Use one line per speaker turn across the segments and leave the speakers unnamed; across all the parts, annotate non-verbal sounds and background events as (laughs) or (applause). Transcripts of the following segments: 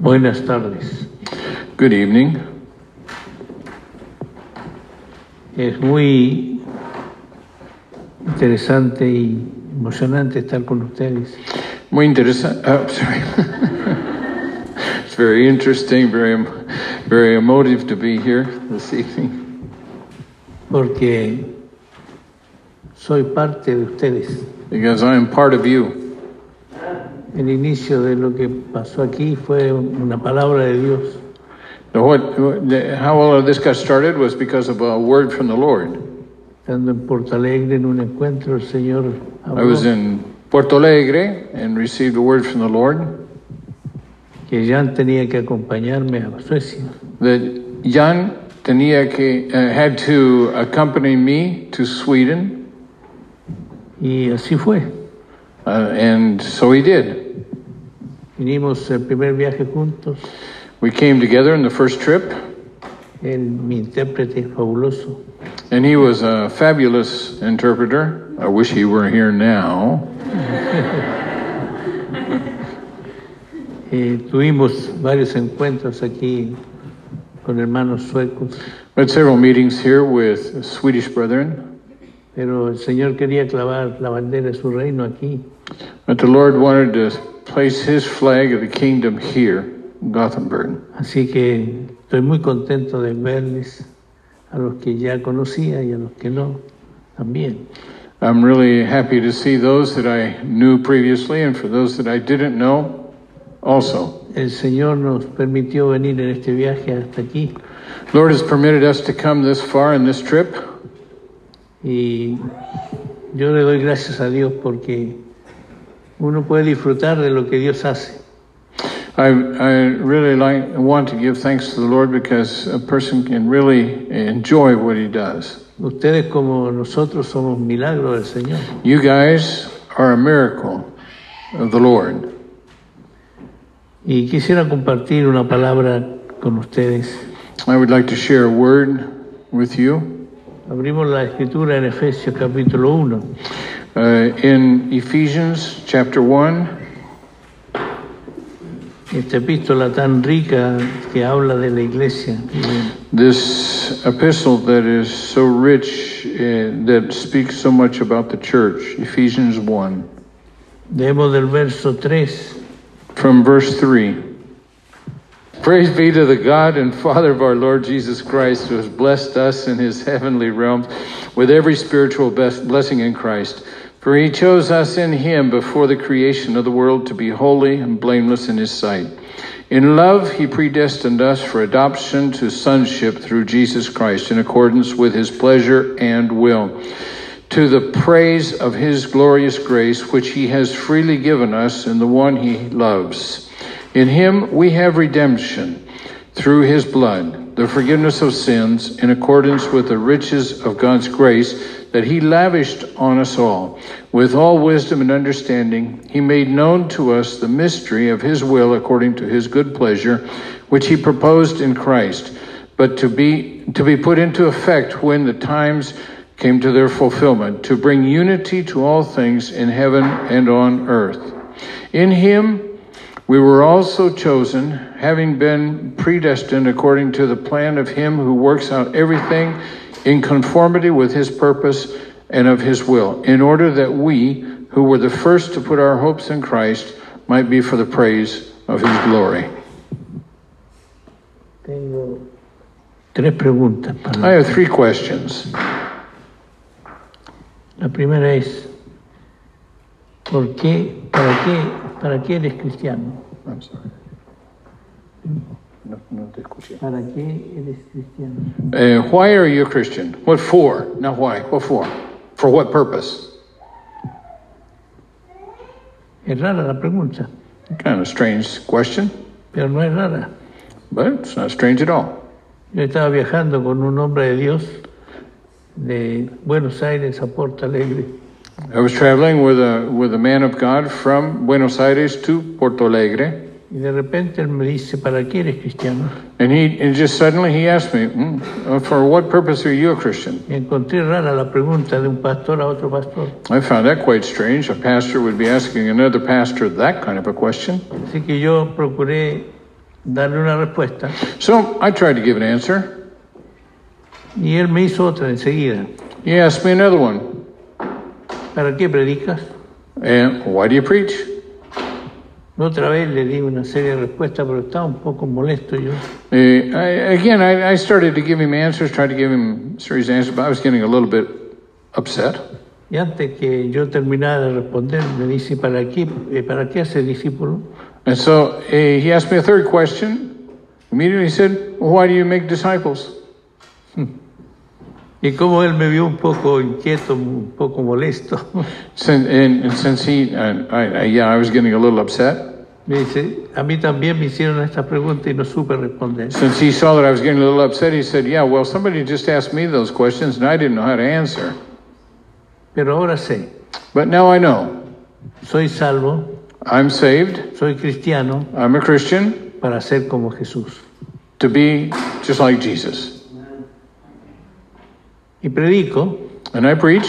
Buenas tardes.
Good evening.
Es muy interesante y emocionante estar con ustedes.
Muy interesante. Oh, (laughs) sorry. it's very interesting, very, em- very emotive to be here this evening
porque soy parte de ustedes.
because I am part of you.
El inicio de lo que pasó aquí fue una palabra de Dios.
The what, what- the- how all of this got started was because of a word from the Lord.
Estando en Porto Alegre en un encuentro, el Señor
I
habló
was in Porto Alegre and received a word from the Lord
que Jan tenía que acompañarme a Suecia.
that Jan tenía que, uh, had to accompany me to Sweden,
Y así fue.
uh, and so he did.
Vinimos el primer viaje juntos.
We came together in the first trip,
Él, mi intérprete es fabuloso.
and he was a fabulous interpreter. I wish he were here now.
Eh, tuvimos varios encuentros aquí con hermanos suecos,
We had several meetings here with Swedish brethren,
pero el Señor quería clavar la bandera de su reino aquí.
but the Lord wanted to place his flag of the kingdom here, Gothenburg.
Así que estoy muy contento de verles, a los que ya conocía y a los que no también.
I'm really happy to see those that I knew previously and for those that I didn't know also.
El Señor nos permitió venir en este viaje hasta aquí
Lord has permitted us to come this far in this trip,
y yo le doy gracias a Dios porque uno puede disfrutar de lo que Dios hace.
I, I really like want to give thanks to the Lord because a person can really enjoy what He does.
Ustedes como nosotros somos milagros del Señor.
You guys are a miracle of the Lord.
Y quisiera compartir una palabra con ustedes.
I would like to share a word with you
Abrimos la escritura en Efesios capítulo 1.
uh, in Ephesians chapter 1.
Esta epístola tan rica que habla de la iglesia.
This epistle that is so rich, uh, that speaks so much about the church. Ephesians 1,
Leemos del verso 3
from verse 3. Praise be to the God and Father of our Lord Jesus Christ, who has blessed us in his heavenly realms with every spiritual bes- blessing in Christ. For he chose us in him before the creation of the world to be holy and blameless in his sight. In love, he predestined us for adoption to sonship through Jesus Christ in accordance with his pleasure and will, to the praise of his glorious grace, which he has freely given us in the one he loves. In him we have redemption through his blood, the forgiveness of sins, in accordance with the riches of God's grace that he lavished on us all. With all wisdom and understanding, he made known to us the mystery of his will according to his good pleasure, which he proposed in Christ, but to be, to be put into effect when the times came to their fulfillment, to bring unity to all things in heaven and on earth. In him, we were also chosen, having been predestined according to the plan of Him who works out everything in conformity with His purpose and of His will, in order that we, who were the first to put our hopes in Christ, might be for the praise of His glory.
tengo tres preguntas.
I
Para
have three questions.
la primera es, ¿por qué, para qué, para qué eres cristiano?
I'm sorry. No, no te escuché.
¿Para qué eres cristiano?
Uh, why are you a Christian? What for? Not why. What for? For what purpose?
Es rara la pregunta,
Kind of strange question,
pero no es rara.
but it's not strange at all.
Yo estaba viajando con un hombre de Dios de Buenos Aires a Porto Alegre
I was traveling with a with a man of God from Buenos Aires to Porto Alegre,
y de repente él me dice, ¿para qué eres cristiano?
and he and just suddenly he asked me, "Mm, uh, "For what purpose are you a Christian?"
Y encontré rara la pregunta de un pastor a otro pastor.
I found that quite strange. A pastor would be asking another pastor that kind of a question,
Así que yo procuré darle una respuesta.
So I tried to give an answer.
Y él me hizo otra enseguida.
He asked me another one.
¿Para qué predicas?
And why do you preach?
Otra vez le di una serie de respuestas, pero estaba un poco molesto yo.
Uh, I, again, I, I started to give him answers, tried to give him serious answers, but I was getting a little bit upset.
Y antes que yo terminara de responder, me dice, ¿para qué, eh, ¿para qué haces discípulo?
And so uh, he asked me a third question. Immediately he said, well, Why do you make disciples?
Y como él me vio un poco inquieto, un poco molesto, (laughs)
Since, and, and since he, and I, I, yeah, I was getting a little upset.
me dice, a mí también me hicieron estas preguntas y no supe responder.
Since he saw that I was getting a little upset, he said, Yeah, well, somebody just asked me those questions and I didn't know how to answer.
Pero ahora sé,
But now I know.
soy salvo,
I'm saved.
soy cristiano
I'm a Christian
para ser como Jesús.
to be just like Jesus.
Y predico
And I preach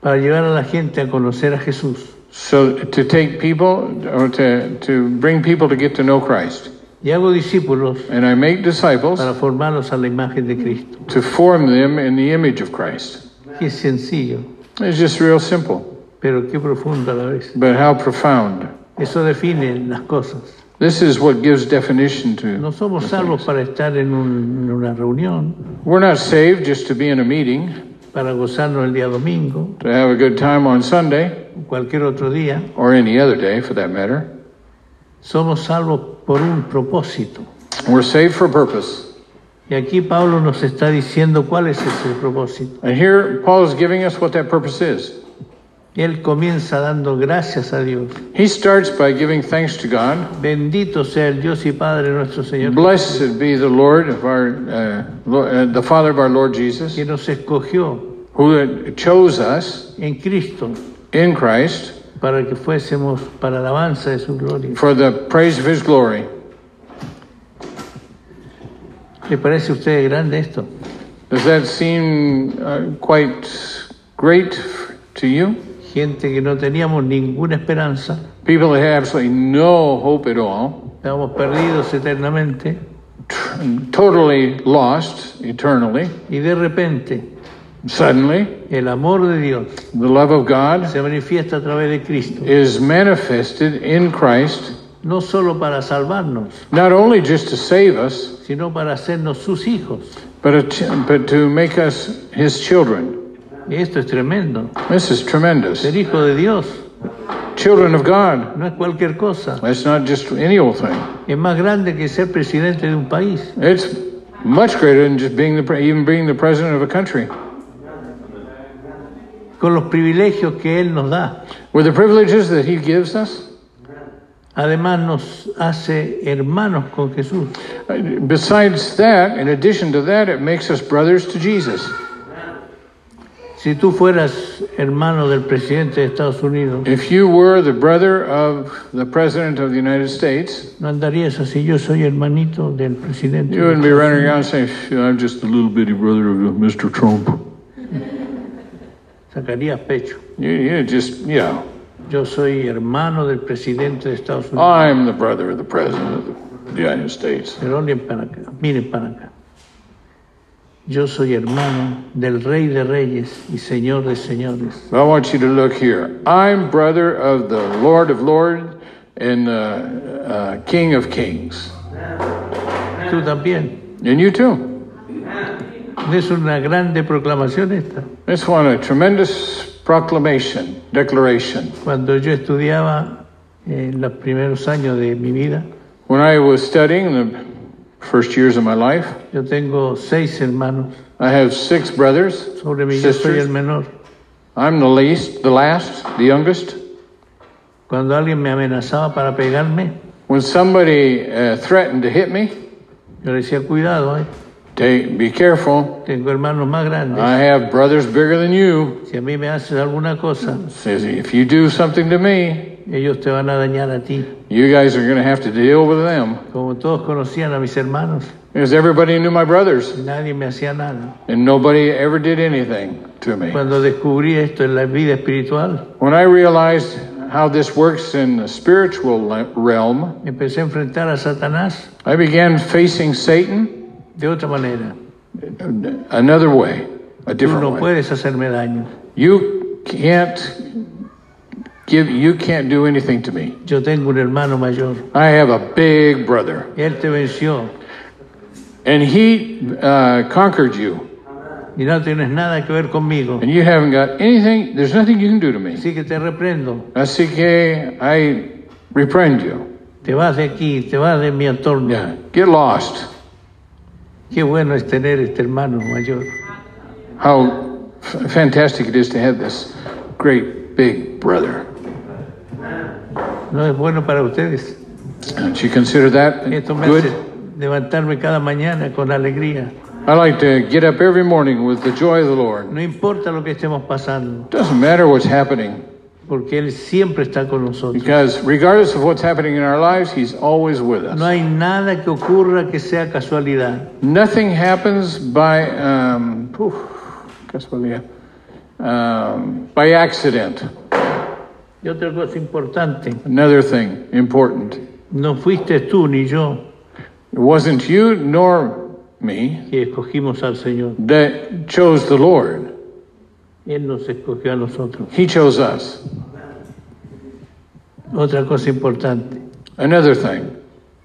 para llevar a la gente a conocer a Jesús.
so to take people or to, to bring people to get to know Christ.
Y hago discípulos
And I make disciples
para formarlos a la imagen de Cristo.
to form them in the image of Christ.
Qué sencillo,
It's just real simple,
pero qué profundo a la vez.
but how profound.
Eso define las cosas.
This is what gives definition to.
No somos salvos para estar en, un- en una reunión,
We're not saved just to be in a meeting,
para gozarnos el día domingo,
to have a good time on Sunday,
o cualquier otro día.
or any other day for that matter.
Somos salvos por un propósito.
We're saved for a purpose.
Y aquí Pablo nos está diciendo cuál es ese propósito.
And here, Paul is giving us what that purpose is.
Él comienza dando gracias a Dios.
He starts by giving thanks to God.
Bendito sea el Dios y Padre nuestro Señor,
Blessed be the Lord of our, uh, Lo- uh, the Father of our Lord Jesus,
que nos escogió
who chose us
en Cristo
in Christ
para que fuésemos para alabanza de su gloria.
for the praise of His glory.
¿Le parece a ustedes grande esto?
Does that seem uh, quite great to you?
Gente que no teníamos ninguna esperanza,
People that have absolutely no hope at all,
estábamos perdidos eternamente
totally lost eternally,
y de repente
suddenly
el amor de Dios
the love of God
se manifiesta a través de Cristo,
is manifested in Christ,
no solo para salvarnos,
not only just to save us,
sino para hacernos sus hijos.
but, a, but to make us His children.
Y esto es tremendo.
This is tremendous.
Ser hijo de Dios
Children of God.
no es cualquier cosa.
That's not just any old thing.
Es más grande que ser presidente de un país.
It's much greater than just being the pre- even being the president of a country.
con los privilegios que Él nos da.
With the privileges that He gives us,
Además nos hace hermanos con Jesús.
Besides that, in addition to that, it makes us brothers to Jesus.
Si tú fueras hermano del presidente de Estados Unidos,
If you were the brother of the President of the United States,
no andarías así. Yo soy hermanito del presidente.
you wouldn't be running around saying, "Phew, I'm just a little bitty brother of Mr. Trump.
Sacarías pecho.
You, you just, you know,
Yo soy hermano del presidente de Estados Unidos.
I'm the brother of the President of the United States.
Pero miren para acá, miren para acá. Yo soy hermano del Rey de Reyes y Señor de Señores.
I want you to look here. I'm brother of the Lord of Lords and uh, uh, King of Kings.
Tú también.
And you too.
Es una grande proclamación esta.
This one, a tremendous proclamation, declaration.
Cuando yo estudiaba en los primeros años de mi vida,
When I was studying the first years of my life,
yo tengo seis hermanos.
I have six brothers.
Sobre mí yo soy
Sisters.
el menor.
I'm the least, the last, the youngest.
Cuando alguien me amenazaba para pegarme,
When somebody uh, threatened to hit me,
yo le decía, cuidado, eh,
take, be careful.
tengo hermanos más grandes.
I have brothers bigger than you.
Si a mí me haces alguna cosa,
Says if you do something to me,
ellos te van a dañar a ti.
you guys are going to have to deal with them.
Como todos conocían a mis hermanos,
Because everybody knew my brothers,
nadie me hacía nada.
and nobody ever did anything to me.
Cuando descubrí esto en la vida espiritual,
When I realized how this works in the spiritual le- realm,
Empecé a enfrentar a Satanás
I began facing Satan
de otra manera.
another way, a
Tú
different
no
way.
puedes hacerme daño.
You can't give you can't do anything to me.
Yo tengo un hermano mayor.
I have a big brother,
Él te venció
and he uh, conquered you,
y no tienes nada que ver conmigo.
and you haven't got anything. There's nothing you can do to me.
Así que te reprendo.
Así que I reprend you.
Te vas de aquí, te vas de mi entorno.
Yeah, get lost.
Qué bueno es tener este hermano mayor.
How f- fantastic it is to have this great big brother.
No es bueno para ustedes.
Don't you consider that
Esto me hace
good?
levantarme cada mañana con alegría.
I like to get up every morning with the joy of the Lord.
No importa lo que estemos pasando,
Doesn't matter what's happening,
porque Él siempre está con nosotros.
because regardless of what's happening in our lives, He's always with
No
us.
hay nada que ocurra que sea casualidad.
Nothing happens by um, poof, casualidad, um, by accident.
Y otra cosa importante,
Another thing important.
no fuiste tú ni yo
It wasn't you nor me
que escogimos al Señor.
that chose the Lord.
Él nos escogió a nosotros.
He chose us.
Otra cosa importante,
Another thing.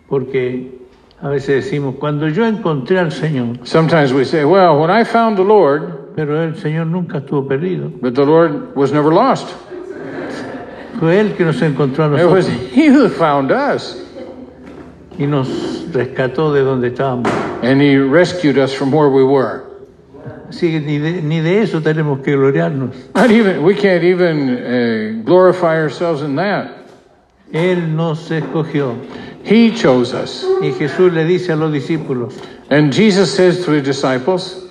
porque a veces decimos, cuando yo encontré al Señor,
Sometimes we say, well, when I found the Lord,
pero el Señor nunca estuvo perdido.
but the Lord was never lost.
Fue Él que nos encontró a
It was (laughs)
nosotros
He who found us,
y nos rescató de donde estábamos.
and He rescued us from where we were.
Así que ni de, ni de eso tenemos que gloriarnos.
Not even we can't even uh, glorify ourselves in that.
Él nos escogió.
He chose us,
Y Jesús le dice a los discípulos,
and Jesus says to the disciples,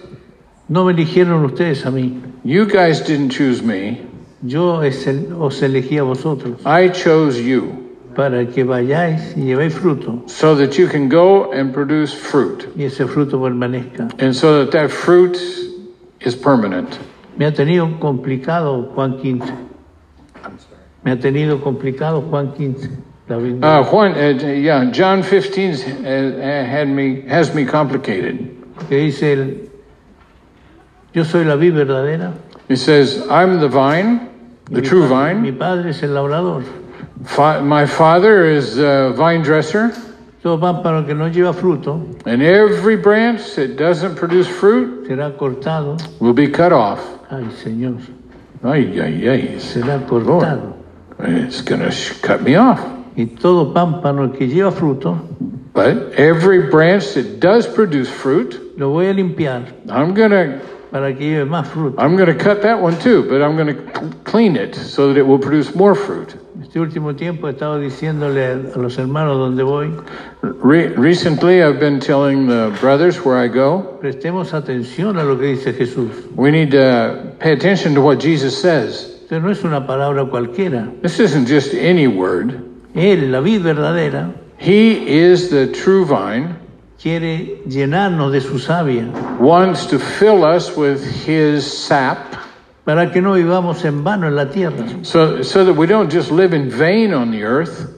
no me eligieron ustedes a mí,
"You guys didn't choose me.
yo es el- os elegí a vosotros
I chose you."
para que vayáis y llevéis fruto
so that you can go and produce fruit,
y ese fruto permanezca.
and so that that fruit is permanent.
Me ha tenido complicado Juan 15. Me ha tenido complicado Juan 15. La vida.
Uh, Juan, uh, yeah, John 15 's, uh, had me has me complicated.
Que dice el, yo soy la vid verdadera,
He says, "I'm the vine, the true
mi
vine.
padre es el labrador.
Fa- my Father is the vine dresser,
Todo pámpano que no lleva fruto
and every branch that doesn't produce fruit
será cortado.
will be cut off."
Ay, Señor,
Ay, ay, ay! It's,
será cortado.
it's gonna sh- cut me off.
Y todo pámpano que lleva fruto
But every branch that does produce fruit,
lo voy a limpiar
I'm gonna
para que lleve más fruto.
I'm going to cut that one too, but I'm going to clean it so that it will produce more fruit.
Este último tiempo he estado diciéndole a los hermanos donde voy,
Re- recently, I've been telling the brothers where I go,
prestemos atención a lo que dice Jesús.
we need to pay attention to what Jesus says.
Esto no es una palabra cualquiera.
This isn't just any word.
Él, la vid verdadera,
He is the true vine,
quiere llenarnos de su savia
wants to fill us with his sap
para que no vivamos en vano en la tierra.
so, so that we don't just live in vain on the earth.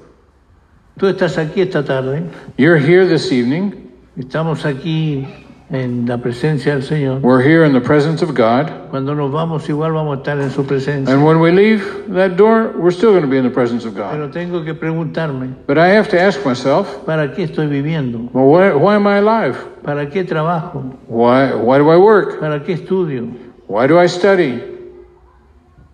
Tú estás aquí esta tarde,
You're here this evening.
estamos aquí en la presencia del Señor.
We're here in the presence of God.
Cuando nos vamos igual vamos a estar en su presencia.
And when we leave that door, we're still going to be in the presence of God.
Pero tengo que preguntarme,
But I have to ask myself,
¿para qué estoy viviendo?
Well, why, why am I alive?
¿Para qué trabajo?
Why, why do I work?
¿Para qué estudio?
Why do I study?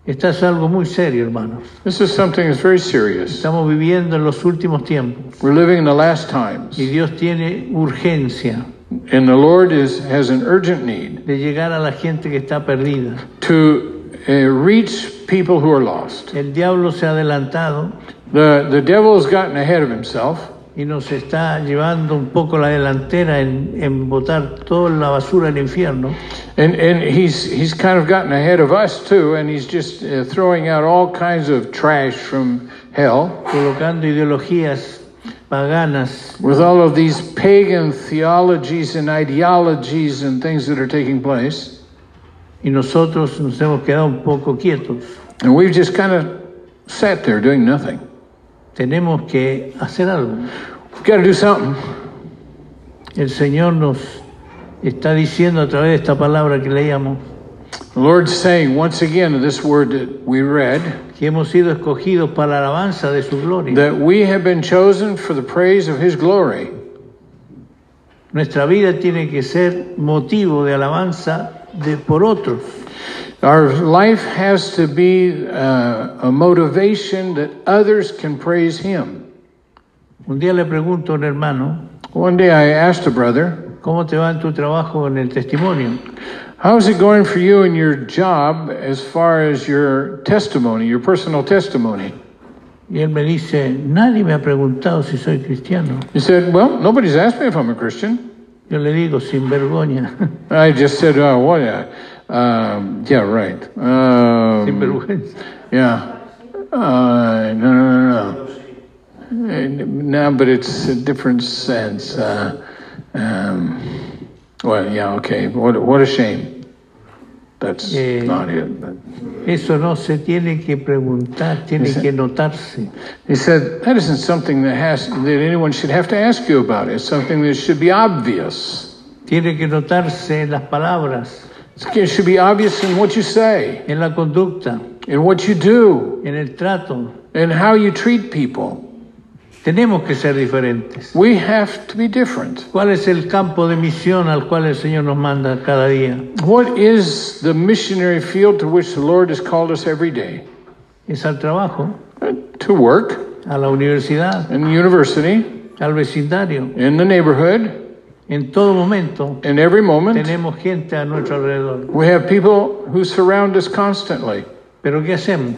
Estás algo muy serio, hermanos.
This is something that's very serious.
Estamos viviendo en los últimos tiempos
We're living in the last times,
y Dios tiene urgencia
and the Lord is, has an urgent need
de llegar a la gente que está perdida.
to uh, reach people who are lost.
El diablo se ha adelantado
The, the devil has gotten ahead of himself,
y nos está llevando un poco la delantera en, en botar toda la basura al infierno.
and, and he's, he's kind of gotten ahead of us too, and he's just uh, throwing out all kinds of trash from hell
colocando ideologías paganas
with all of these pagan theologies and ideologies and things that are taking place.
y nosotros nos hemos quedado un poco quietos.
And we've just kind of sat there doing nothing.
Tenemos que hacer algo.
We've got to do something.
El Señor nos está diciendo a través de esta palabra que leíamos
The Lord's saying once again in this word that we read
que hemos sido escogidos para la alabanza de su gloria.
that we have been chosen for the praise of His glory.
Nuestra vida tiene que ser motivo de alabanza de, por otros.
Our life has to be uh, a motivation that others can praise Him.
Un día le pregunto a un hermano,
One day I asked a brother,
¿cómo te va en tu trabajo en el testimonio?
How's it going for you in your job as far as your testimony, your personal testimony?
Y él me dice, nadie me ha preguntado si soy cristiano.
He said, Well, nobody's asked me if I'm a Christian.
Yo le digo, sin vergüenza, (laughs)
I just said, Oh, what? a- Um, yeah, right.
sin
Um,
vergüenza.
yeah. Uh, no, no, no, no. Uh, No, but it's a different sense. Uh, um, well, yeah, okay. What, what a shame. That's
Yeah.
not it. But
Eso no se tiene que preguntar, tiene
Ese-
que notarse.
he said that isn't something that has that anyone should have to ask you about. It's something that should be obvious.
Tiene que notarse en las palabras,
It's- It should be obvious in what you say,
en la conducta,
in what you do,
en el trato.
and how you treat people.
Tenemos que ser diferentes.
We have to be different.
¿Cuál es el campo de misión al cual el Señor nos manda cada día?
What is the missionary field to which the Lord has called us every day? Uh,
Es al trabajo,
To work,
a la universidad,
in the university,
al vecindario.
in the neighborhood,
En todo momento
in every moment.
tenemos gente a nuestro alrededor.
We have people who surround us constantly.
Pero ¿qué hacemos?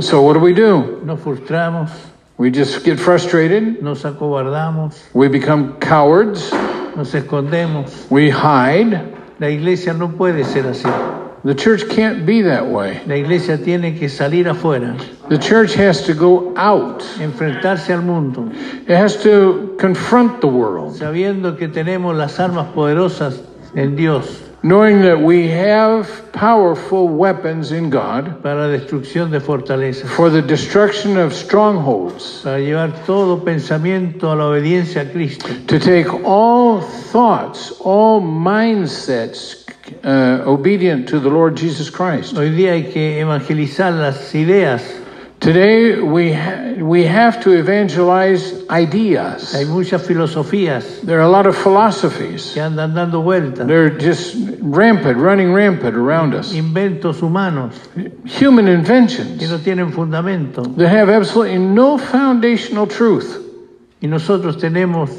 So what do we do?
Nos frustramos,
We just get frustrated.
nos acobardamos,
We become cowards.
nos escondemos.
We hide.
La iglesia no puede ser así.
The church can't be that way.
La iglesia tiene que salir afuera,
The church has to go out.
enfrentarse al mundo,
It has to confront the world,
sabiendo que tenemos las armas poderosas en Dios
knowing that we have powerful weapons in God.
para destrucción de fortalezas.
for the destruction of strongholds,
para llevar todo pensamiento a la obediencia a Cristo.
to take all thoughts, all mindsets uh, obedient to the Lord Jesus Christ.
Hoy día hay que evangelizar las ideas.
Today we ha- we have to evangelize
Hay
ideas.
muchas filosofías
There are a lot of philosophies.
que andan dando vueltas,
They're just rampant, running rampant around us.
inventos humanos
Human
que
inventions
no tienen fundamento.
that have absolutely no foundational truth,
Y nosotros tenemos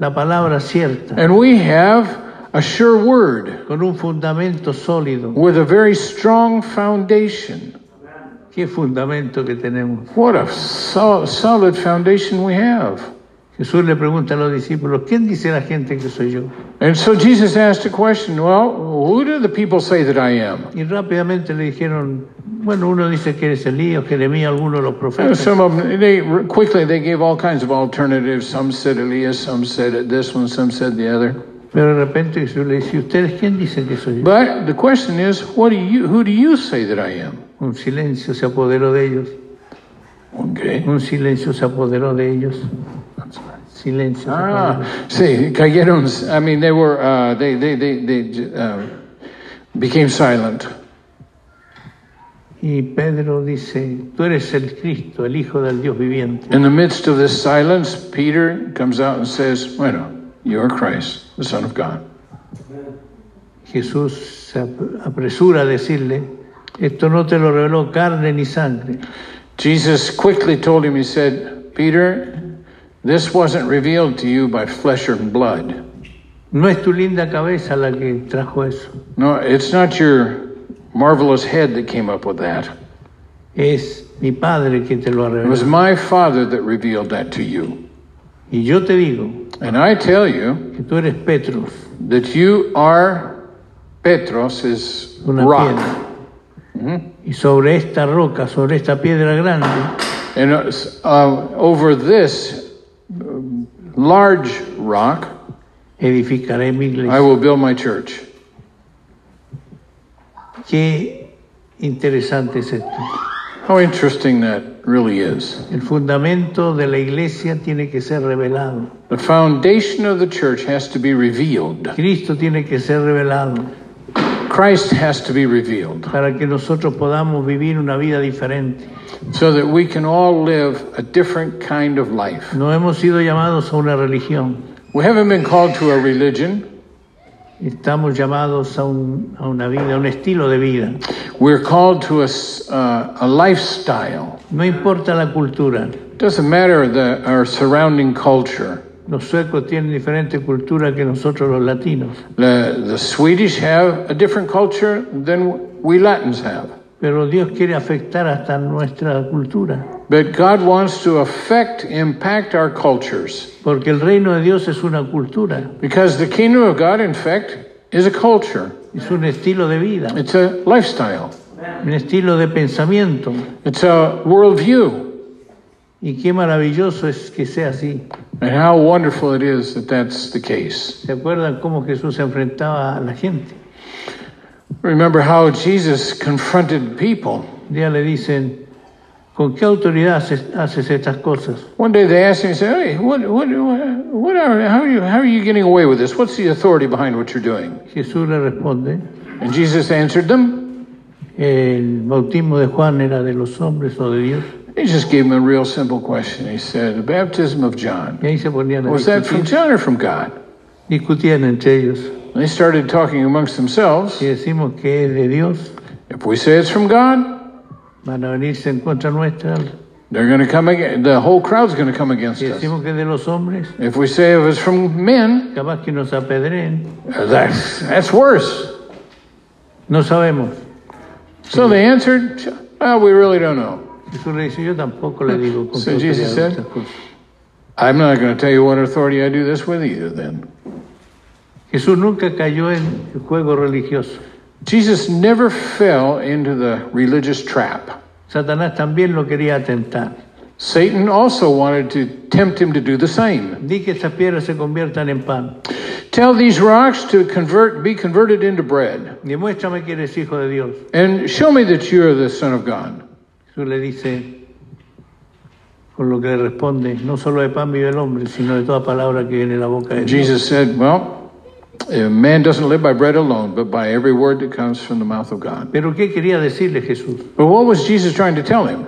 la palabra cierta,
and we have a sure word
con un fundamento sólido.
with a very strong foundation.
¿Qué fundamento que tenemos?
What a so- solid foundation we have.
Jesús le pregunta a los discípulos, ¿quién dice la gente que soy yo?
And so Jesus asked a question Well, who do the people say that I am?
Y rápidamente le dijeron, bueno, uno dice que eres Elías, Jeremías, algunos de los
And
profetas.
Some of them, they quickly they gave all kinds of alternatives. Some said Elias, some said it this one, some said the other.
Pero de repente Jesús le dice, ¿ustedes quién dicen que soy yo?
But the question is, what do you? Who do you say that I am?
Un silencio se apoderó de ellos.
Okay.
Un silencio se apoderó de ellos. Silencio. se apoderó.
Ah, see, cayeron. I mean, they were uh, they they they they uh, became silent.
Y Pedro dice, tú eres el Cristo, el Hijo del Dios viviente.
In the midst of this silence, Peter comes out and says, Bueno, you are Christ, the Son of God.
Jesús se ap- apresura a decirle, esto no te lo reveló carne ni sangre,
Jesus quickly told him, He said, Peter, this wasn't revealed to you by flesh and blood.
no es tu linda cabeza la que trajo eso,
No, it's not your marvelous head that came up with that.
es mi Padre que te lo ha
It was
revelado.
my Father that revealed that to you.
Y yo te digo
And I tell you
que tú eres Petros,
that you are, Petros is
una
rock.
piedra. Y sobre esta roca, sobre esta piedra grande,
And uh, s- uh, over this um, large rock,
edificaré mi iglesia.
I will build my church.
Qué interesante es esto.
How interesting that really is.
El fundamento de la iglesia tiene que ser revelado.
The foundation of the church has to be revealed.
Cristo tiene que ser revelado
Christ has to be revealed
para que nosotros podamos vivir una vida diferente.
so that we can all live a different kind of life.
No hemos sido llamados a una religión,
We haven't been called to a religion,
estamos llamados a, un- a una vida, a un estilo de vida.
we're called to a, s- uh, a lifestyle.
No importa la cultura,
Doesn't matter the, our surrounding culture.
los suecos tienen diferente cultura que nosotros los latinos,
The, the Swedish have a different culture than we Latins have.
pero Dios quiere afectar hasta nuestra cultura,
But God wants to affect, impact our cultures.
porque el reino de Dios es una cultura,
Because the kingdom of God, in fact, is a culture,
es un estilo de vida,
it's a lifestyle,
un estilo de pensamiento.
it's a worldview.
Y qué maravilloso es que sea así.
And how wonderful it is that that's the case.
¿Se acuerdan cómo Jesús enfrentaba a la gente?
Remember how Jesus confronted people.
Un día le dicen, ¿con qué autoridad haces, haces estas cosas?
One day they asked him, he said, hey, what, what, what are, how, are you, how are you getting away with this? What's the authority behind what you're doing?
Jesús le responde,
And Jesus answered them.
el bautismo de Juan era de los hombres o de Dios.
He just gave him a real simple question. He said, the baptism of John,
Y ahí se ponían a
was that from
discutir,
John or from God?
discutían entre ellos.
And they started talking amongst themselves.
Si decimos que es de Dios,
If we say it's from God,
van a venirse en contra nuestra.
they're going to come again. The whole crowd's going to come against
Si
us.
decimos que es de los hombres,
If we say it was from men,
capaz que nos apedreen.
that's, that's worse.
No sabemos.
So they answered, well, we really don't know.
Jesús le dice, yo tampoco le digo con qué
So Jesus
autoridad hago
said-
estas cosas.
I'm not going to tell you what authority I do this with either then.
Jesús nunca cayó en el juego religioso.
Jesus never fell into the religious trap.
Satanás también lo quería atentar.
Satan also wanted to tempt him to do the same.
Di que estas piedras se conviertan en pan.
Tell these rocks to convert, be converted into bread,
Demuéstrame que eres hijo de Dios.
and show me that you are the Son of God.
Jesús le dice, con lo que le responde, no solo de pan vive el hombre, sino de toda palabra que viene de la boca de Dios.
Jesus said, Well, eh, man doesn't live by bread alone, but by every word that comes from the mouth of God.
Pero ¿qué quería decirle Jesús?
But what was Jesus trying to tell him?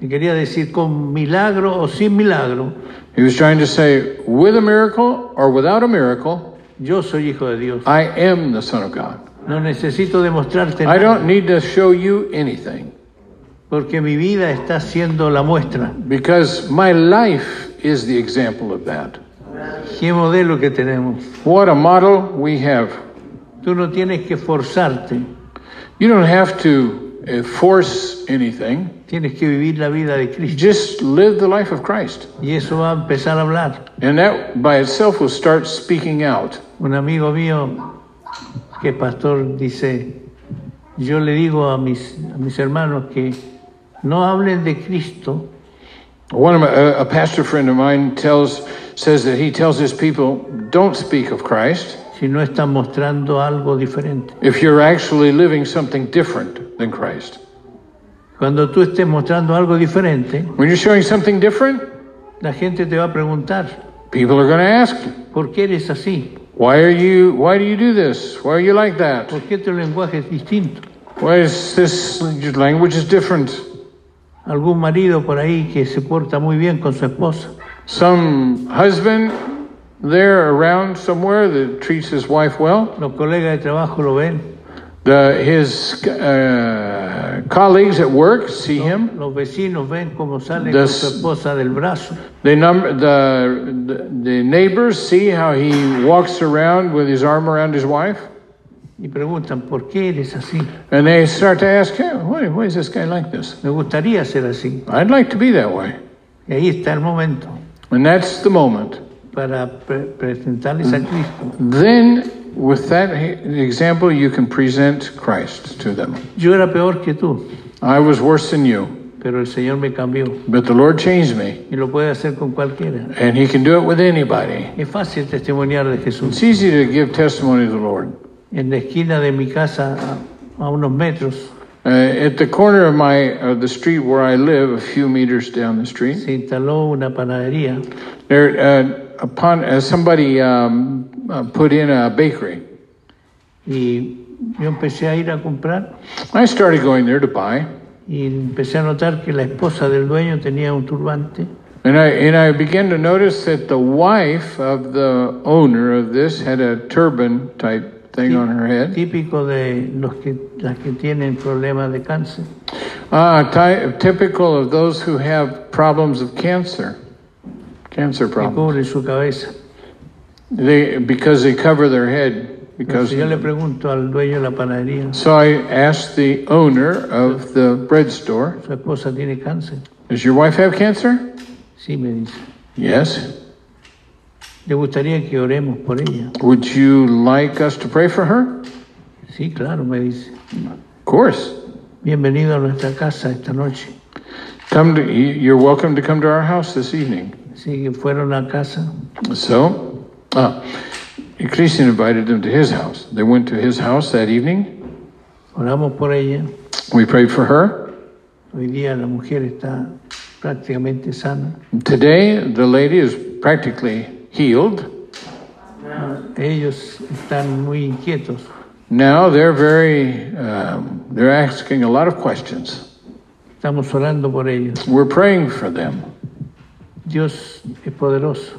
Le quería decir con milagro o sin milagro,
He was trying to say, with a miracle or without a miracle,
yo soy hijo de Dios.
I am the Son of God.
No necesito demostrarte
I
nada,
don't need to show you anything
porque mi vida está siendo la muestra.
because my life is the example of that.
¿Qué modelo que tenemos?
What a model we have.
Tú no tienes que forzarte,
You don't have to eh, force anything.
tienes que vivir la vida de Cristo.
Just live the life of Christ.
Y eso va a empezar a hablar.
And that by itself will start speaking out.
Un amigo mío que es pastor dice, yo le digo a mis, a mis hermanos que no hablen de Cristo,
One of my, a, a pastor friend of mine tells says that he tells his people, "Don't speak of Christ
si no están mostrando algo diferente.
if you're actually living something different than Christ.
Cuando tú estés mostrando algo diferente,
When you're showing something different,
la gente te va a preguntar,
people are going to ask,
¿por qué eres así?
"Why are you why do you do this? Why are you like that?
¿Por qué tu lenguaje es distinto?
Why is this your language is different?"
Algún marido por ahí que se porta muy bien con su esposa,
Some husband there around somewhere that treats his wife well,
los colegas de trabajo lo ven,
the, his uh, colleagues at work see him.
los vecinos ven cómo sale con
Des-
su esposa del brazo.
They number the, the the neighbors see how he walks around with his arm around his wife,
y preguntan, ¿por qué eres así?
and they start to ask, hey, why, why is this guy like this?
Me gustaría ser así.
I'd like to be that way.
Y ahí está el momento
And that's the moment.
para pre- presentarles a Cristo.
Then, with that he- example, you can present Christ to them.
Yo era peor que tú,
I was worse than you,
pero el Señor me cambió
but the Lord changed me,
y lo puede hacer con cualquiera.
and He can do it with anybody.
Es fácil testimoniar de Jesús.
It's easy to give testimony to the Lord.
En la esquina de mi casa, a, a unos metros,
Uh, at the corner of my of the street where I live, a few meters down the street,
se instaló una panadería
there uh, upon uh, somebody um, uh, put in a bakery.
y yo empecé a ir a comprar
I started going there to buy,
y empecé a notar que la esposa del dueño tenía un turbante
and I and I began to notice that the wife of the owner of this had a turban type thing on her head.
típico de los que las que tienen problemas de cáncer
Ah, ty- typical of those who have problems of cancer, cancer
que
problems.
cubre su cabeza.
They because they cover their head because.
Entonces yo le pregunto al dueño de la panadería,
So I asked the owner of the bread store,
su esposa tiene cáncer.
"Does your wife have cancer?"
Sí, me dice.
Yes.
¿Le gustaría que oremos por ella?
Would you like us to pray for her?
Sí, claro, me dice.
Of course.
Bienvenido a nuestra casa esta noche.
Come to you're welcome to come to our house this evening.
Así que fueron a casa
So, ah, Christian invited them to his house. They went to his house that evening.
Oramos por ella.
We prayed for her.
Hoy día la mujer está prácticamente sana.
Today, the lady is practically healed.
Ellos están muy inquietos.
Now they're very um, they're asking a lot of questions.
Estamos orando por ellos.
We're praying for them.
Dios es poderoso.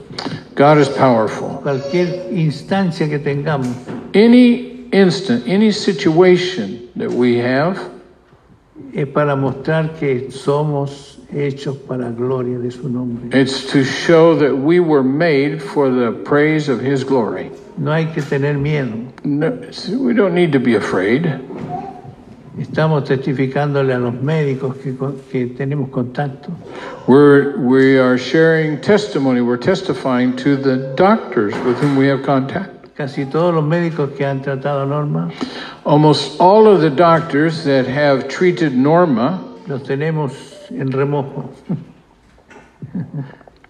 God is powerful.
Cualquier instancia que tengamos,
Any instant, any situation that we have
es para mostrar que somos hechos para gloria de su nombre.
It's to show that we were made for the praise of His glory.
No hay que tener miedo.
No, see, we don't need to be afraid.
Estamos testificándole a los médicos que, con- que tenemos contacto
We're, we are sharing testimony. We're testifying to the doctors with whom we have contact.
Casi todos los médicos que han tratado a Norma
Almost all of the doctors that have treated Norma,
los tenemos en remojo.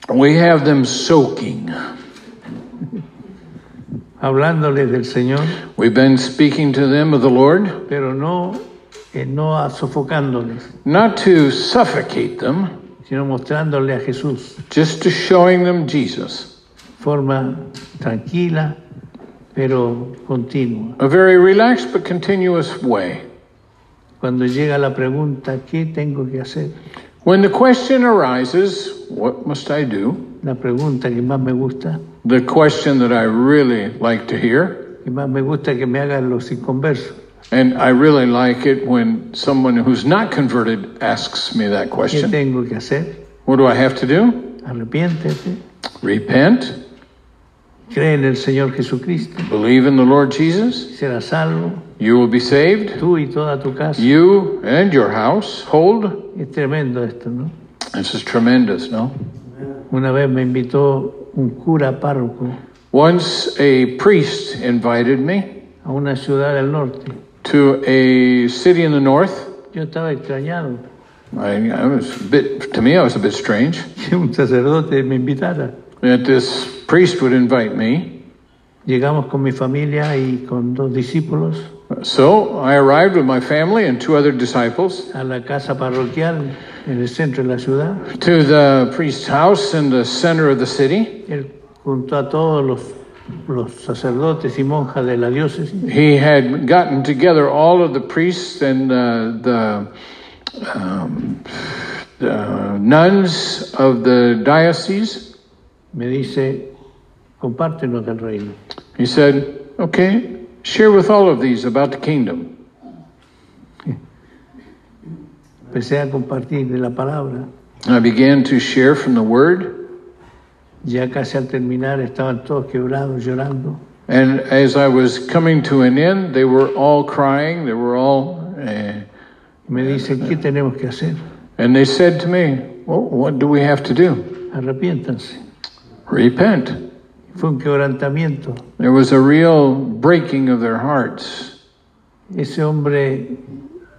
we have them soaking.
hablándoles del Señor,
We've been speaking to them of the Lord,
pero no, eh, no a- sofocándoles,
not to suffocate them,
sino mostrándoles a Jesús
just to showing them Jesus.
forma tranquila, pero continua.
A very relaxed but continuous way.
Cuando llega la pregunta, ¿qué tengo que hacer?
When the question arises, what must I do?
La pregunta que más me gusta,
The question that I really like to hear,
que más me gusta que me hagan los inconversos.
and I really like it when someone who's not converted asks me that
¿Qué
question.
tengo que hacer?
What do I have to do?
Arrepiéntete,
Repent,
cree en el Señor Jesucristo,
believe in the Lord Jesus,
serás salvo,
you will be saved,
tú y toda tu casa.
you and your household.
Es tremendo esto, ¿no?
This is tremendous, no?
Una vez me invitó un cura párroco
Once a priest invited me
a una ciudad del norte.
to a city in the north.
Yo estaba extrañado (laughs)
I, I was a bit, to me, I was a bit strange.
que un sacerdote me invitara.
that this priest would invite me.
Llegamos con mi familia y con dos discípulos
So I arrived with my family and two other disciples
a la casa parroquial en el centro de la ciudad.
to the priest's house in the center of the city.
Él juntó a todos los, los sacerdotes y monjas de la diócesis
He had gotten together all of the priests and uh, the, um, the nuns of the diocese.
me dice, compártenos del reino.
He said, Okay, share with all of these about the kingdom.
Empecé a compartir de la palabra.
I began to share from the word.
Ya casi al terminar estaban todos quebrados, llorando.
And as I was coming to an end, they were all crying. They were all, uh,
Me dice, ¿qué tenemos que hacer?
and they said to me, well, "What do we have to do?
Arrepiéntanse.
Repent."
Fue un quebrantamiento.
There was a real breaking of their hearts.
Ese hombre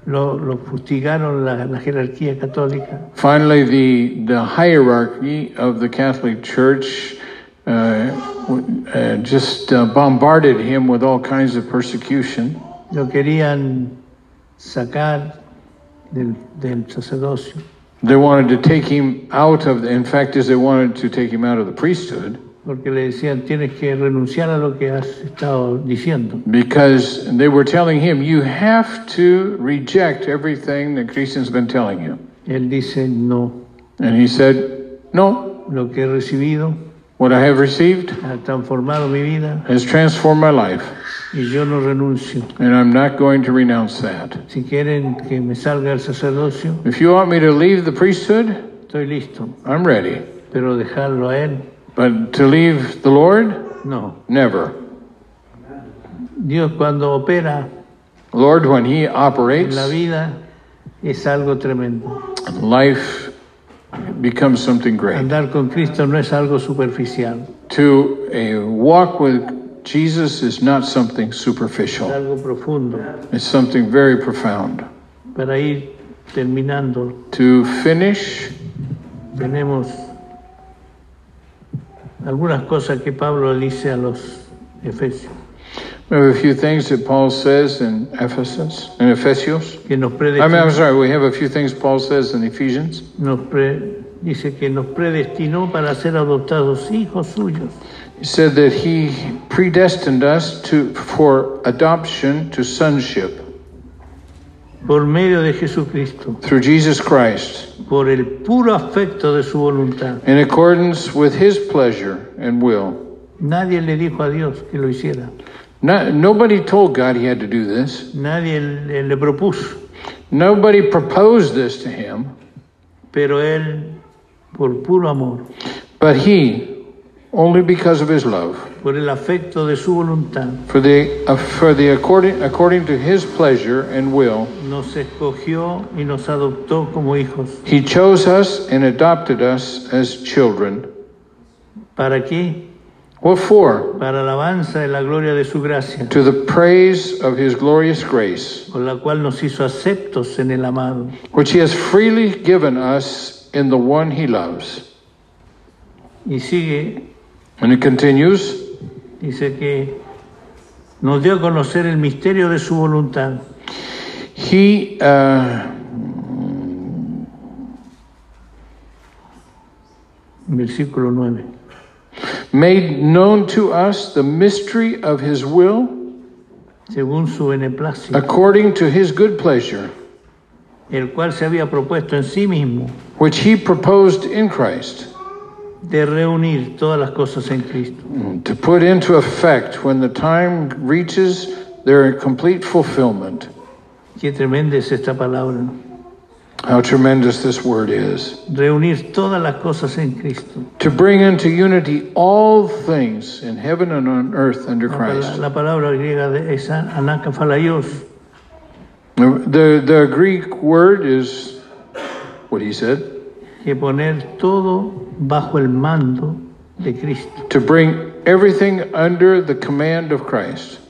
lo, lo fustigaron la, la jerarquía católica.
Finally, the the hierarchy of the Catholic Church uh, w- uh, just uh, bombarded him with all kinds of persecution.
Lo querían sacar del, del sacerdocio.
They wanted to take him out of, the, in fact, is they wanted to take him out of the priesthood
Porque le decían, tienes que renunciar a lo que has estado diciendo.
because they were telling him, you have to reject everything that Christian's been telling you.
Él dice, no,
And he said, No,
lo que he recibido
what I have received
ha transformado mi vida
has transformed my life,
y yo no renuncio.
and I'm not going to renounce that.
Si quieren que me salga el sacerdocio,
If you want me to leave the priesthood,
estoy listo.
I'm ready.
Pero dejarlo a él,
But to leave the Lord,
no.
never.
Dios cuando opera
Lord, when He
en
operates,
la vida es algo tremendo.
life becomes something great.
Andar con Cristo no es algo superficial,
To a walk with Jesus is not something
es
superficial,
algo profundo.
it's something very profound.
Para ir terminando,
To finish,
tenemos algunas cosas que Pablo dice a los efesios,
we have a few things that Paul says in Ephesus, in Ephesus.
que nos
I mean,
predestinó,
I'm sorry, we have a few things Paul says in Ephesians.
nos pre- dice que nos predestinó para ser adoptados hijos suyos
He said that he predestined us to for adoption to sonship
por medio de Jesucristo,
through Jesus Christ
por el puro afecto de su voluntad.
in accordance with his pleasure and will.
Nadie le dijo a Dios que lo hiciera,
No, nobody told God he had to do this.
nadie le, le propuso,
Nobody proposed this to him,
pero él, por puro amor,
but he only because of his love
por el afecto de su voluntad,
for the uh, for the according according to his pleasure and will
nos escogió y nos adoptó como hijos.
he chose us and adopted us as children.
¿Para qué?
What for?
Para alabanza de la gloria de su gracia,
to the praise of his glorious grace,
con la cual nos hizo aceptos en el amado.
which he has freely given us in the one he loves.
Y sigue,
And it continues,
dice que nos dio a conocer el misterio de su voluntad,
he, uh,
versículo 9,
made known to us the mystery of his will
según su beneplácito,
according to his good pleasure,
el cual se había propuesto en sí mismo
which he proposed in Christ
de reunir todas las cosas en Cristo.
to put into effect when the time reaches their complete fulfillment.
Qué tremenda es esta palabra. ¿no?
How tremendous this word is.
Reunir todas las cosas en Cristo.
To bring into unity all things in heaven and on earth under
La, pala-
Christ.
la palabra griega de, es anacafalaios,
The, the Greek word is what he said
que poner todo bajo el mando de Cristo.
to bring everything under the command of Christ,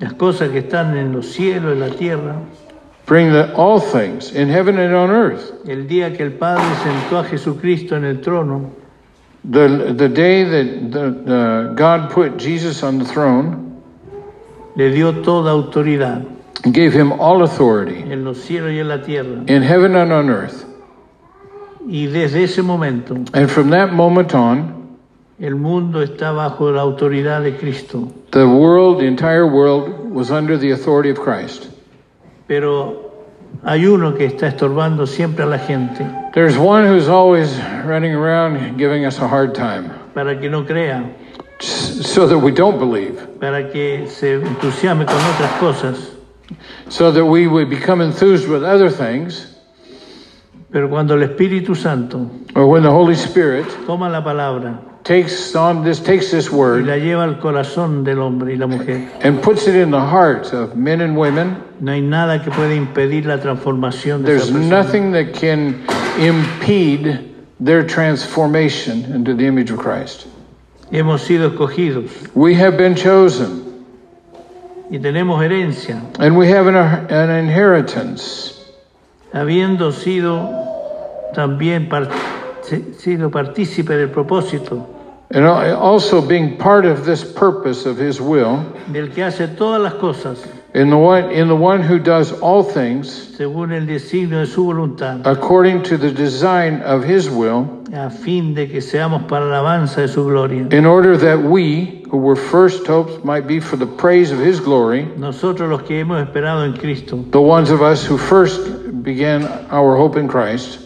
Las cosas que están en los cielos, en la tierra.
bring the, all things in heaven and on earth.
El día que el Padre sentó a Jesucristo en el trono,
The, the day that the, uh, God put Jesus on the throne
le dio toda autoridad
and gave him all authority
en los cielos y en la tierra.
in heaven and on earth.
Y desde ese momento,
And from that moment on,
el mundo está bajo la autoridad de Cristo.
the world, the entire world, was under the authority of Christ.
Pero hay uno que está estorbando siempre a la gente
There's one who's always running around giving us a hard time
para que no crea,
s- so that we don't believe.
para que se entusiasme con otras cosas.
so that we would become enthused with other things.
Pero cuando el Espíritu Santo
Or when the Holy Spirit
toma la palabra
takes on this, takes this
y
word
la lleva al corazón del hombre y la mujer,
and puts it in the hearts of men and women,
no hay nada que pueda impedir la transformación de
there's
esa persona.
nothing that can impede their transformation into the image of Christ.
Hemos sido escogidos
We have been chosen
y tenemos herencia,
and we have an, an inheritance,
habiendo sido también par- sido partícipe del propósito
And also being part of this purpose of His will,
del que hace todas las cosas
in the one, in the one who does all things
según el designio de su voluntad,
according to the design of His will,
a fin de que seamos para la alabanza de su gloria.
in order that we, who were first hopes, might be for the praise of His glory,
Nosotros los que hemos esperado en Cristo,
the ones of us who first began our hope in Christ.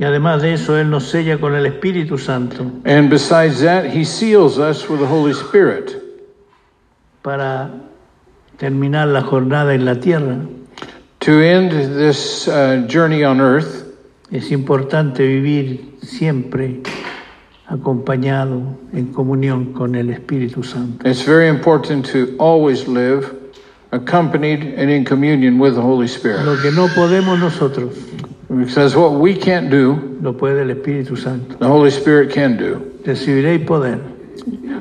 y además de eso Él nos sella con el Espíritu Santo
And besides that, He seals us with the Holy Spirit.
para terminar la jornada en la tierra.
To end this uh, journey on earth,
Es importante vivir siempre acompañado en comunión con el Espíritu Santo.
it's very important to always live accompanied and in communion with the Holy Spirit.
Lo que no podemos nosotros,
Because what we can't do,
lo puede el Espíritu Santo.
the Holy Spirit can do.
Recibiréis poder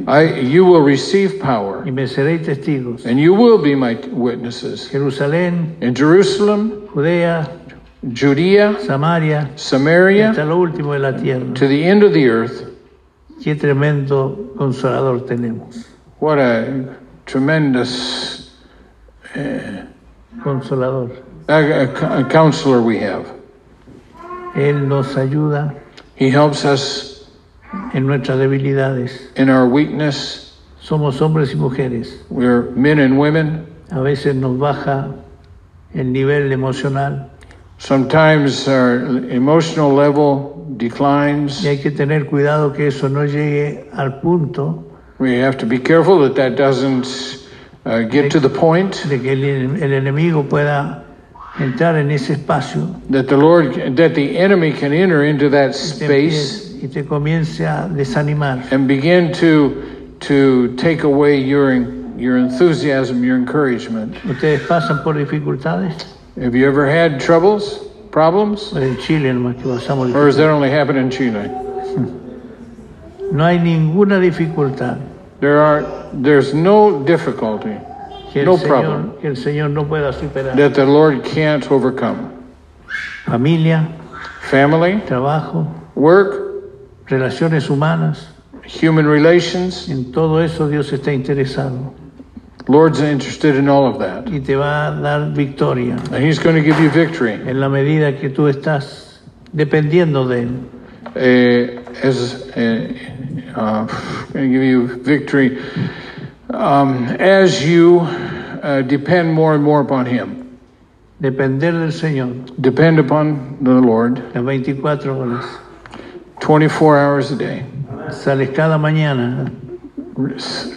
I, you will receive power,
y me seréis testigos.
and you will be my witnesses
Jerusalén,
in Jerusalem,
Judea,
Judea,
Samaria, hasta
Samaria,
lo último de la tierra.
to the end of the earth.
Qué tremendo consolador tenemos.
What a tremendous
Consolador.
uh, uh, counselor we have.
Él nos ayuda
He helps us
en nuestras debilidades.
in our weakness.
Somos hombres y mujeres.
We're men and women.
A veces nos baja el nivel emocional
Sometimes our emotional level declines.
y hay que tener cuidado que eso no llegue al punto
We have to be careful that that doesn't uh, get to the point
de que el, el enemigo pueda entrar en ese espacio
that the Lord, that the enemy can enter into that
te
space
empie- y te comience a desanimar.
and begin to to take away your en- your enthusiasm, your encouragement.
Ustedes pasan por dificultades,
Have you ever had troubles, problems,
Pues en Chile nomás que pasamos
or does
dificultades.
that only happen in Chile?
No hay ninguna dificultad
There are there's no difficulty
que el,
No problem.
Señor, que el Señor no pueda superar.
that the Lord can't overcome.
Familia,
Family,
trabajo,
work,
relaciones humanas,
human relations.
en todo eso Dios está interesado
Lord's interested in all of that.
y te va a dar victoria
And he's going to give you victory
en la medida que tú estás dependiendo de Él.
uh, as uh, uh, going to give you victory um, as you uh, depend more and more upon him.
Depender del Señor
Depend upon the Lord
las 24 horas.
24 hours a day.
Sales cada mañana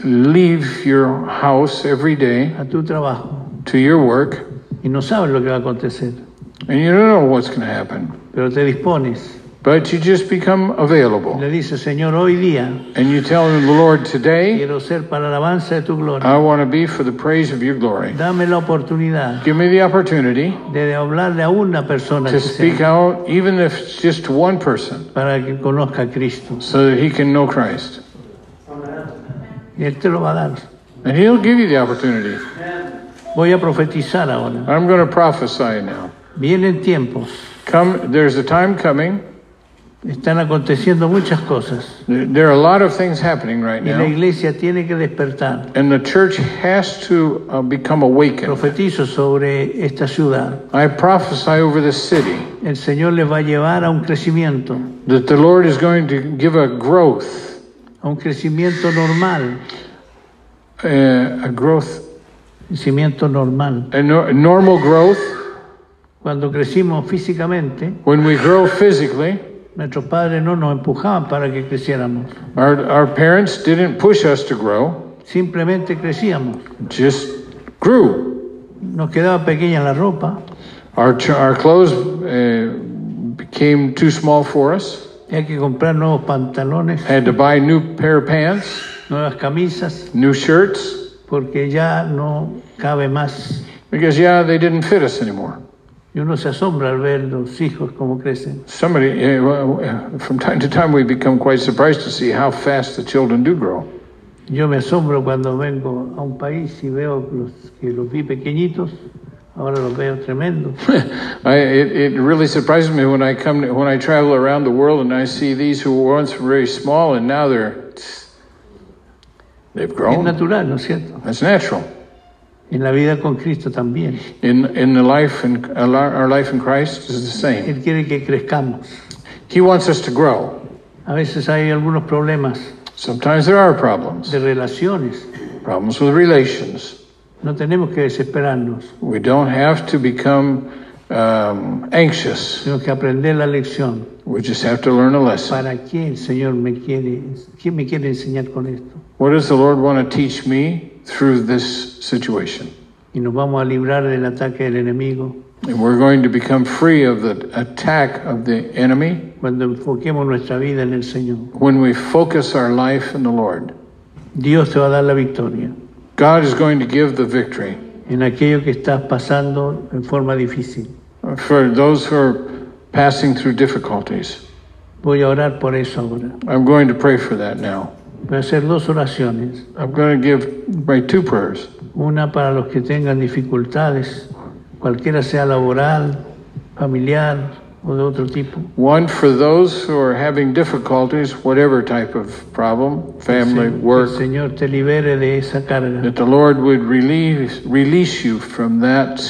Leave your house every day
a tu trabajo
to your work,
y no sabes lo que va a acontecer,
and you don't know what's going to happen.
pero te dispones.
But you just become available,
Le dices, Señor, hoy día
and you tell the Lord today,
quiero ser para la alabanza de tu gloria.
I want to be for the praise of your glory.
Dame la oportunidad
Give me the opportunity
de hablarle a una persona
to
que sea,
speak out, even if it's just to one person,
para que conozca a Cristo.
so that he can know Christ.
Y Él te lo va a dar.
And he'll give you the opportunity.
Voy a profetizar ahora.
I'm going to prophesy now.
Vienen tiempos,
Come, there's a time coming.
están aconteciendo muchas cosas
There there are a lot of things happening right
y la
now,
iglesia tiene que despertar.
and the church has to uh, become awakened.
Profetizo sobre esta ciudad.
I prophesy over this city
El Señor les va a llevar a un crecimiento,
that the Lord is going to give a growth,
a un crecimiento normal,
uh, a growth,
crecimiento normal.
a nor- normal growth.
Cuando crecimos físicamente,
When we grow physically,
nuestros padres no nos empujaban para que creciéramos,
our, our parents didn't push us to grow.
simplemente crecíamos.
just grew.
Nos quedaba pequeña la ropa
Our, ch- our clothes uh, became too small for us.
había que comprar nuevos pantalones,
Had to buy new pair of pants,
nuevas camisas,
new shirts,
porque ya no cabe más.
because yeah, they didn't fit us anymore.
Y uno se asombra al ver los hijos cómo crecen.
Somebody, uh, well, uh, from time to time, we become quite surprised to see how fast the children do grow. (laughs)
Yo me asombro cuando vengo a un país y veo los, que los vi pequeñitos Ahora lo veo tremendo.
I, it, it really surprises me when I come to, when I travel around the world and I see these who were once very small and now they're they've
Es
grown.
natural, ¿no es cierto?
That's natural
En la vida con Cristo también.
in in the life in our life in Christ is the same.
Él quiere que crezcamos.
He wants us to grow.
A veces hay algunos problemas
Sometimes there are problems,
de relaciones.
problems with relations.
No tenemos que desesperarnos.
We don't have to become um, anxious.
Tenemos que aprender la lección.
We just have to learn a lesson.
¿Para qué el Señor me quiere? ¿Qué me quiere enseñar con esto?
What does the Lord want to teach me through this situation?
Y nos vamos a librar del ataque del enemigo
And we're going to become free of the attack of the enemy
cuando enfoquemos nuestra vida en el Señor.
when we focus our life in the Lord.
Dios te va a dar la victoria
God is going to give the victory.
en aquello que estás pasando en forma difícil.
For those who are passing through difficulties,
Voy a orar por eso ahora.
I'm going to pray for that now.
Voy a hacer dos oraciones.
I'm going to give my two prayers.
Una para los que tengan dificultades, cualquiera sea laboral, familiar o de otro tipo.
One for those who are having difficulties, whatever type of problem, family,
Que el
work,
Señor te libere de esa carga.
that the Lord would relieve, release you from that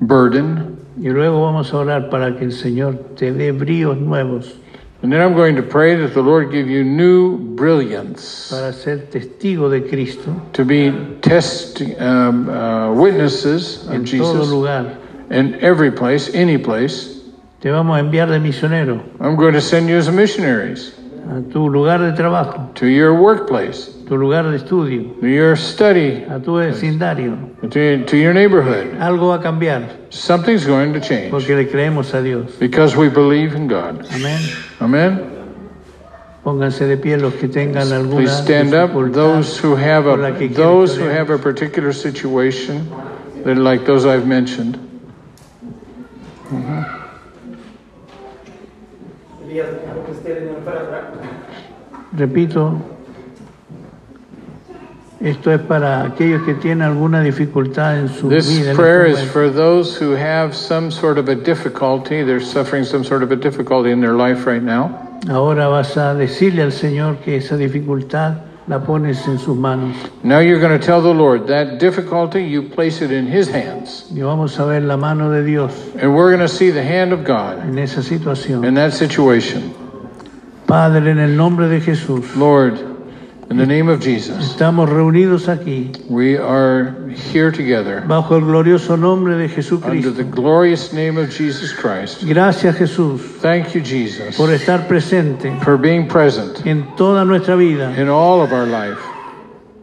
burden.
Y luego vamos a orar para que el Señor te dé bríos nuevos
And then I'm going to pray that the Lord give you new brilliance
para ser testigo de Cristo
to be test um, uh, witnesses of
en todo
Jesus
lugar.
in every place, any place.
Te vamos a enviar de misionero
I'm going to send you as missionaries
a tu lugar de trabajo,
to your workplace,
tu lugar de estudio,
to your study,
a tu vecindario.
to, to your neighborhood.
Algo va a cambiar
Something's going to change
porque le creemos a Dios.
because we believe in God.
Amén.
Amen.
Pónganse de pie los que tengan alguna
Please stand up.
dificultad.
Those who have a those who have a particular situation, that like those I've mentioned.
Repito, esto es para aquellos que tienen alguna dificultad en su
This
vida. en
prayer
este
is for those who have some sort of a difficulty. They're suffering some sort of a difficulty in their life right now.
momento. Ahora vas a decirle al Señor que esa dificultad la pones en sus manos.
Now you're going to tell the Lord that difficulty, you place it in His hands.
Y vamos a ver la mano de Dios
And we're going to see the hand of God
en esa situación.
in that situation.
Padre, en el nombre de Jesús,
Lord, in the name of Jesus,
estamos reunidos aquí
we are here together
bajo el glorioso nombre de
under
Jesucristo.
the glorious name of Jesus Christ.
Gracias Jesús
Thank you, Jesus,
por estar presente
for being present
en toda nuestra vida.
in all of our life.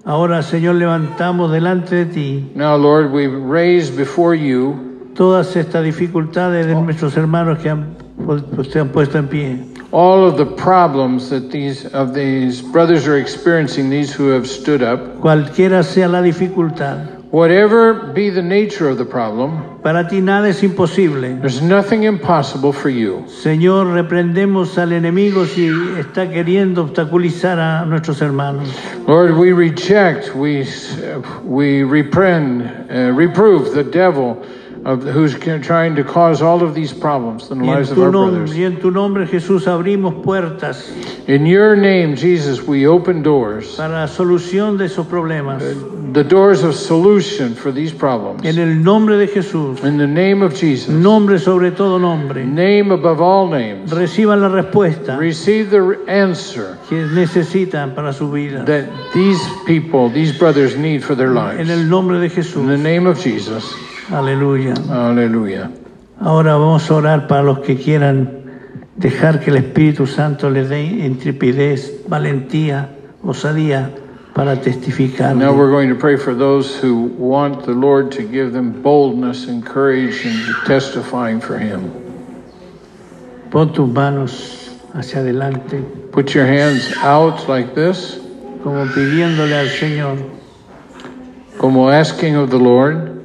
Ahora, Señor, levantamos delante de ti
Now, Lord, we raise before you
todas estas dificultades de nuestros hermanos que han, pues, se han puesto en pie.
all of the problems that these of these brothers are experiencing these who have stood up
Cualquiera sea la dificultad,
whatever be the nature of the problem
para ti nada es imposible.
there's nothing impossible for you
Señor, reprendemos al enemigo si está queriendo obstaculizar a nuestros hermanos.
lord we reject we we reprend uh, reprove the devil of who's ca- trying to cause all of these problems in the
Y en,
lives of
tu
our
nombre,
brothers
y en tu nombre, Jesús, abrimos puertas
in your name jesus we open doors
para la solución de esos problemas.
the doors of solution for these problems
En el nombre de Jesús,
in the name of jesus
nombre sobre todo nombre,
name above all names
reciban la respuesta
receive the answer
que necesitan para su vida.
that these people, these brothers, need for their
En
lives.
el
In
nombre de
the
Jesús.
name of Jesus,
Aleluya.
hallelujah.
Ahora vamos a orar para los que quieran dejar que el Espíritu Santo les dé intrepidez, valentía, osadía para testificar.
Now we're going to pray for those who want the Lord to give them boldness and courage in testifying for Him.
Pon tus manos hacia adelante
Put your hands out like this,
como pidiéndole al Señor
como asking of the Lord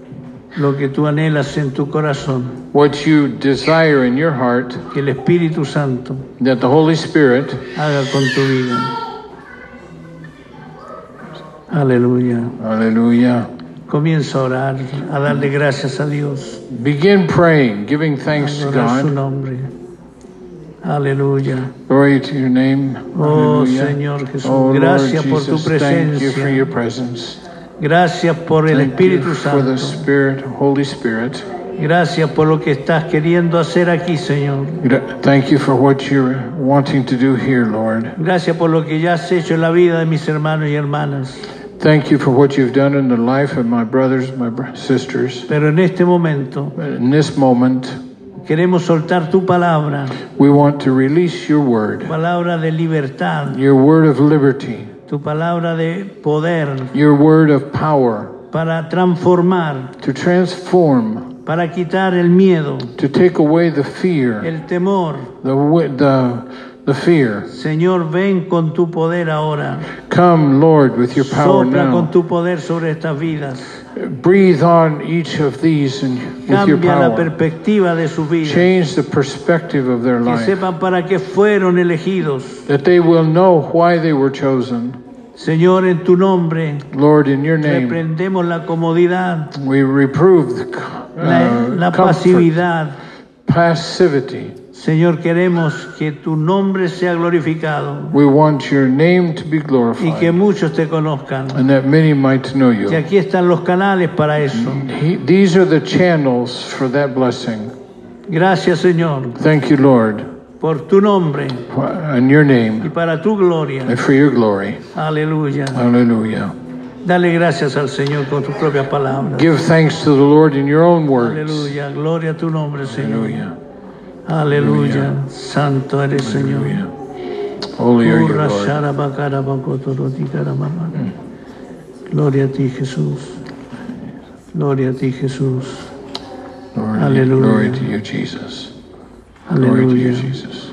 lo que tú anhelas en tu corazón,
what you desire in your heart
que el Espíritu Santo
that the Holy Spirit,
haga con tu vida. Aleluya.
hallelujah,
Comienza a orar, a darle gracias a Dios,
Begin praying, giving
a
thanks to
adorar su
God.
nombre. Aleluya.
Glory to your name.
Oh
Hallelujah.
Señor Jesús,
Oh, Lord
gracias por tu
Jesus, thank you for your
presencia.
presence.
Gracias por el
Thank you
Espíritu
for
Santo.
the Spirit, Holy Spirit.
Gracias por lo que estás queriendo hacer aquí, Señor.
Gra- Thank you for what you're wanting to do here, Lord.
Gracias por lo que ya has hecho en la vida de mis hermanos y hermanas.
Thank you for what you've done in the life of my brothers, my br- sisters.
Pero en este momento
In this moment,
queremos soltar tu palabra,
we want to release your word,
palabra de libertad,
your word of liberty,
tu palabra de poder
your word of power
para transformar,
to transform,
para quitar el miedo,
to take away the fear,
el temor.
the wi- the the fear.
Señor, ven con tu poder ahora.
Come, Lord, with your power
Sopla
now.
con tu poder sobre estas vidas.
Breathe on each of these and with your
Cambia la
power.
perspectiva de su vida.
Change the perspective of their
Que
life.
sepan para qué fueron elegidos.
That they will know why they were chosen.
Señor, en tu nombre
Lord, in your name,
reprendemos la comodidad,
we reprove the
la,
uh,
la
comfort,
pasividad.
passivity.
Señor, queremos que tu nombre sea glorificado
We want your name to be
y que
glorified
muchos te conozcan.
and that many might know
Y
you.
aquí están los canales para eso.
He, these are the channels for that blessing.
Gracias, Señor,
Thank you, Lord,
por tu nombre
in your
y
name
para tu gloria.
and for your glory.
Aleluya.
Hallelujah.
Dale gracias al Señor con tus propias palabras.
Give thanks to the Lord in your own words.
Aleluya. Gloria a tu nombre, Señor.
Hallelujah.
Aleluya. Santo eres, Señor.
Hallelujah. Holy are you,
Urra,
Lord.
sharaba, karaba, kotoroti, karama, mama. Gloria a ti, Jesús. Gloria a ti, Jesús.
Glory,
Hallelujah.
glory to you, Jesus. Glory to you,
Aleluya.
Jesus.